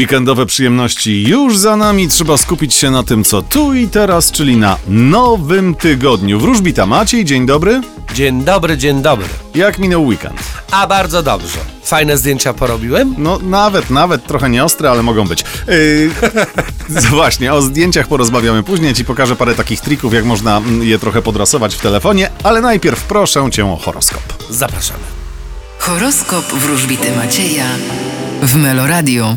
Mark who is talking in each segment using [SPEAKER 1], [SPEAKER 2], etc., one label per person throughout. [SPEAKER 1] Weekendowe przyjemności już za nami, trzeba skupić się na tym, co tu i teraz, czyli na nowym tygodniu. Wróżbita Maciej, dzień dobry.
[SPEAKER 2] Dzień dobry, dzień dobry.
[SPEAKER 1] Jak minął weekend?
[SPEAKER 2] A bardzo dobrze. Fajne zdjęcia porobiłem?
[SPEAKER 1] No nawet, nawet trochę nieostre, ale mogą być. Yy, z- właśnie, o zdjęciach porozmawiamy później, ci pokażę parę takich trików, jak można mm, je trochę podrasować w telefonie, ale najpierw proszę cię o horoskop.
[SPEAKER 2] Zapraszamy.
[SPEAKER 3] Horoskop wróżbity Macieja w Meloradio.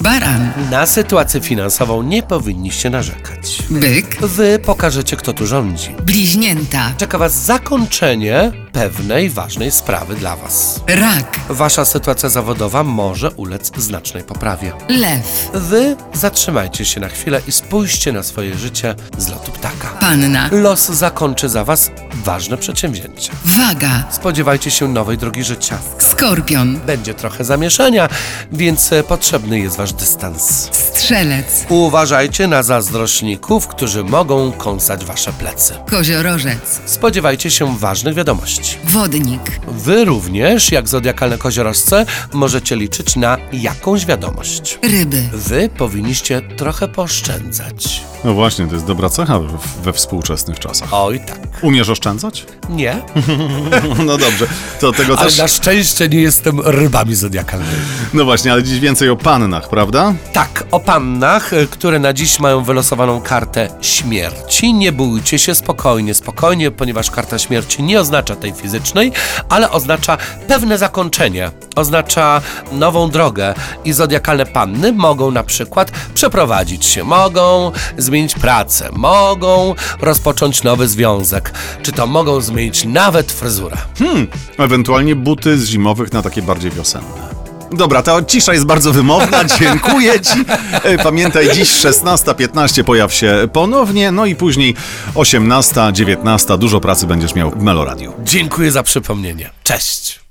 [SPEAKER 3] Baran,
[SPEAKER 2] Na sytuację finansową nie powinniście narzekać.
[SPEAKER 3] byk,
[SPEAKER 2] Wy pokażecie, kto tu rządzi.
[SPEAKER 3] bliźnięta,
[SPEAKER 2] Czeka Was zakończenie pewnej ważnej sprawy dla Was.
[SPEAKER 3] rak,
[SPEAKER 2] Wasza sytuacja zawodowa może ulec znacznej poprawie.
[SPEAKER 3] lew,
[SPEAKER 2] Wy zatrzymajcie się na chwilę i spójrzcie na swoje życie z lotu ptaka.
[SPEAKER 3] panna,
[SPEAKER 2] Los zakończy za Was ważne przedsięwzięcie.
[SPEAKER 3] waga,
[SPEAKER 2] Spodziewajcie się nowej drogi życia.
[SPEAKER 3] skorpion,
[SPEAKER 2] Będzie trochę zamieszania, więc e, potrzebny jest wasz dystans.
[SPEAKER 3] strzelec,
[SPEAKER 2] Uważajcie na zazdrośników, którzy mogą kąsać wasze plecy.
[SPEAKER 3] koziorożec,
[SPEAKER 2] Spodziewajcie się ważnych wiadomości.
[SPEAKER 3] wodnik,
[SPEAKER 2] Wy również, jak zodiakalne koziorożce, możecie liczyć na jakąś wiadomość.
[SPEAKER 3] ryby,
[SPEAKER 2] Wy powinniście trochę pooszczędzać.
[SPEAKER 1] No właśnie, to jest dobra cecha w- we współczesnych czasach.
[SPEAKER 2] Oj tak.
[SPEAKER 1] Umiesz oszczędzać?
[SPEAKER 2] Nie?
[SPEAKER 1] No dobrze, to tego
[SPEAKER 2] Ale
[SPEAKER 1] też...
[SPEAKER 2] na szczęście nie jestem rybami zodiakalnymi.
[SPEAKER 1] No właśnie, ale dziś więcej o pannach, prawda?
[SPEAKER 2] Tak, o pannach, y, które na dziś mają wylosowaną kartę śmierci. Nie bójcie się, spokojnie, spokojnie, ponieważ karta śmierci nie oznacza tej fizycznej, ale oznacza pewne zakończenie, oznacza nową drogę i zodiakalne panny mogą na przykład przeprowadzić się, mogą zmienić pracę, mogą rozpocząć nowy związek, czy to mogą zmienić nawet fryzurę. Hm?
[SPEAKER 1] Hmm, ewentualnie buty z zimowych na takie bardziej wiosenne. Dobra, ta cisza jest bardzo wymowna, dziękuję Ci. E, Pamiętaj, dziś 16.15 pojaw się ponownie, no i później 18.19. Dużo pracy będziesz miał w Meloradiu.
[SPEAKER 2] Dziękuję za przypomnienie. Cześć!